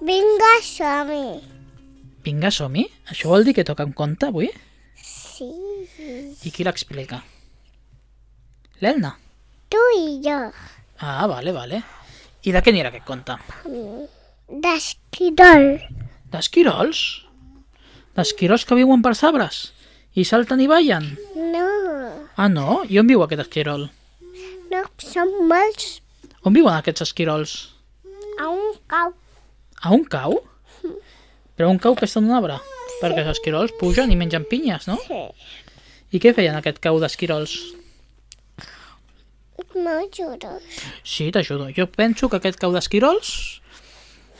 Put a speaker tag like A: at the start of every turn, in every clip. A: Vinga, som-hi.
B: Vinga, som-hi. Això vol dir que toca un conte avui?
A: Sí,
B: I qui l'explica? L'Elna.
A: tu i jo.
B: Ah, vale, vale. I de què anirà aquest conte?
A: D'esquirol.
B: D'esquirols? D'esquirols que viuen per sabres? I salten i ballen?
A: No,
B: Ah, no? I on viu aquest esquirol?
A: no, són molts
B: On viuen aquests esquirols?
A: a un cau.
B: A un cau? Però un cau que està en un arbre? Perquè els esquirols pugen i mengen pinyes, no?
A: Sí.
B: I què feien aquest cau d'esquirols?
A: M'ajudes.
B: Sí, t'ajudo. Jo penso que aquest cau d'esquirols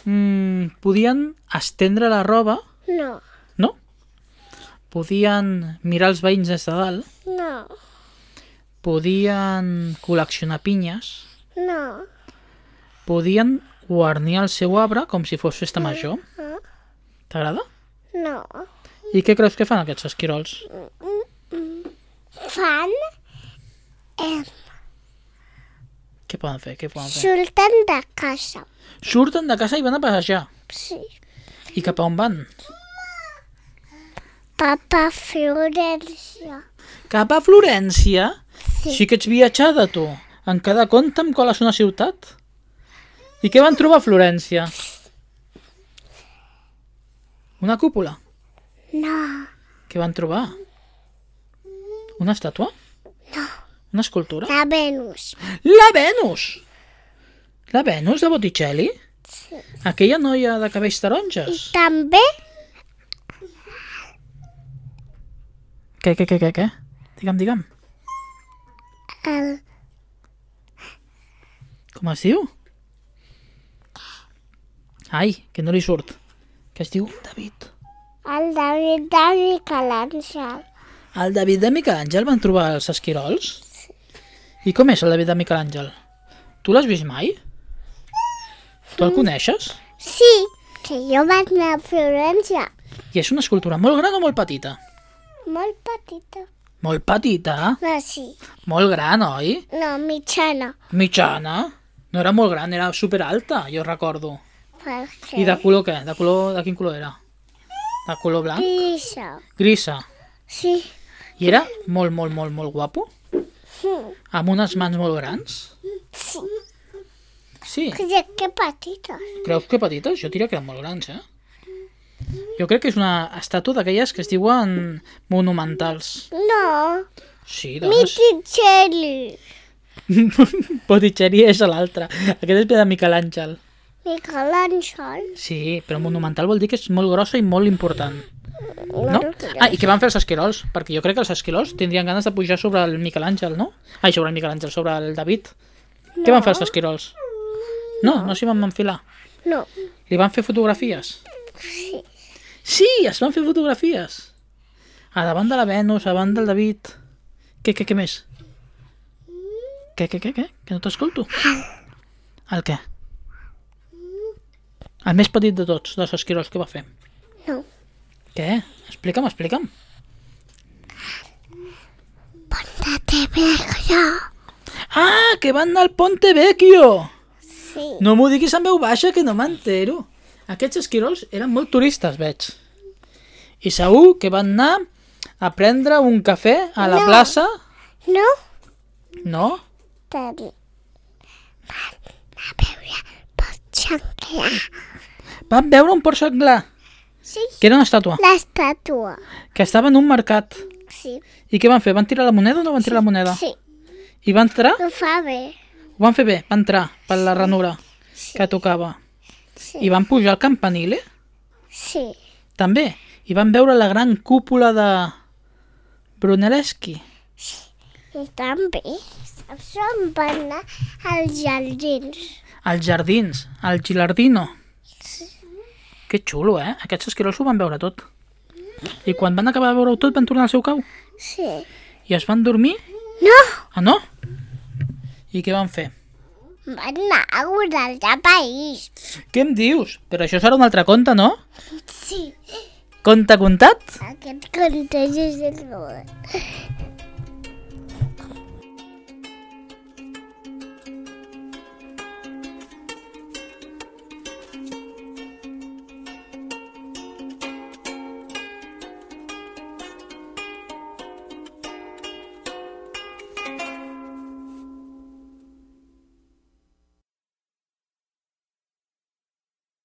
B: mmm, podien estendre la roba,
A: No,
B: no? Podien mirar els veïns des de dalt,
A: no,
B: podien col·leccionar pinyes,
A: no.
B: podien guarnir el seu arbre com si fos festa major.
A: Ah.
B: T'agrada?
A: No.
B: I què creus que fan aquests esquirols?
A: Fan... Eh,
B: Què poden fer? Què poden fer?
A: surten de casa.
B: Surten de casa i van a passejar.
A: Sí.
B: I cap a on van?
A: Papa Florència.
B: Cap a Florència?
A: Sí.
B: Sí que ets viatjada, tu. En cada conte em coles una ciutat. I què van trobar a Florència? Una cúpula.
A: No,
B: Què van trobar? Una estàtua? No. Una escultura?
A: de Venus.
B: La Venus! La Venus de Botticelli? Aquella noia de cabells taronges?
A: També
B: Què, què, què, què, què? Digue'm, digue'm.
A: el...
B: Com es diu? Ai, que no li surt. Que es diu David.
A: El David de Miquel Àngel.
B: El David de Miquel Àngel van trobar els esquirols? I com és el David de Miquel Àngel? Tu l'has vist mai? Tu el coneixes?
A: Sí, que jo vaig anar a Florència.
B: I és una escultura molt gran o molt petita?
A: Molt petita.
B: Molt petita,
A: No, sí.
B: molt gran, oi?
A: No, mitjana.
B: Mitjana? No era molt gran, era super alta, jo recordo.
A: Perquè...
B: I de color què? De color... de quin color era? De color blanc?
A: Pisa.
B: Grisa.
A: Sí.
B: I era molt, molt, molt, molt guapo? Amb unes mans molt grans?
A: Sí.
B: Sí.
A: Que, que petita.
B: Creus que petites? Jo diria que eren molt grans, eh? Jo crec que és una estàtua d'aquelles que es diuen monumentals.
A: No,
B: Sí, doncs. dones.
A: Mitticelli.
B: Botticelli és l'altre. Aquest és de Miquel Àngel.
A: Miquel Àngel.
B: Sí, però monumental vol dir que és molt grossa i molt important. No? Ah, i què van fer els esquirols? Perquè jo crec que els esquirols tindrien ganes de pujar sobre el Miquel Àngel, no? Ai, sobre el Miquel Àngel, sobre el David. Què van fer els esquirols? No, no s'hi van enfilar.
A: No.
B: Li van fer fotografies? Sí. Sí, es van fer fotografies. A davant de la Venus, a davant del David. Què, què, què més? Què, què, què, què? Que no t'escolto. El què? El més petit de tots, dels esquirols, que va fer?
A: No.
B: Què? Explica'm, explica'm.
A: Ponte de verga.
B: Ah, que van anar al Ponte Vecchio!
A: Sí.
B: No m'ho diguis en veu baixa, que no m'entero. Aquests esquirols eren molt turistes, veig. I segur que van anar a prendre un cafè a la
A: No.
B: plaça...
A: No?
B: No?
A: Teni. Van a veure pot xanquear.
B: Van veure un porc senglar,
A: Sí.
B: que era una estàtua,
A: L'estàtua.
B: que estava en un mercat.
A: Sí.
B: I què van fer? Van tirar la moneda o no van tirar la moneda?
A: Sí.
B: I van entrar?
A: Ho fa bé.
B: Ho van fer bé, van entrar per la ranura que tocava.
A: Sí.
B: I van pujar al campanile,
A: Sí.
B: també. I van veure la gran cúpula de Brunelleschi.
A: I també, saps on van anar als jardins?
B: als jardins, al Gilardino. Que xulo, eh? Aquests esquirols ho van veure tot. I quan van acabar de veure-ho tot van tornar al seu cau.
A: Sí.
B: I es van dormir?
A: No!
B: Ah, no? I què van fer?
A: Van anar a un altre país.
B: Què em dius? Però això serà un altre conte, no?
A: Sí.
B: Conte contat?
A: Aquest conte és el robot.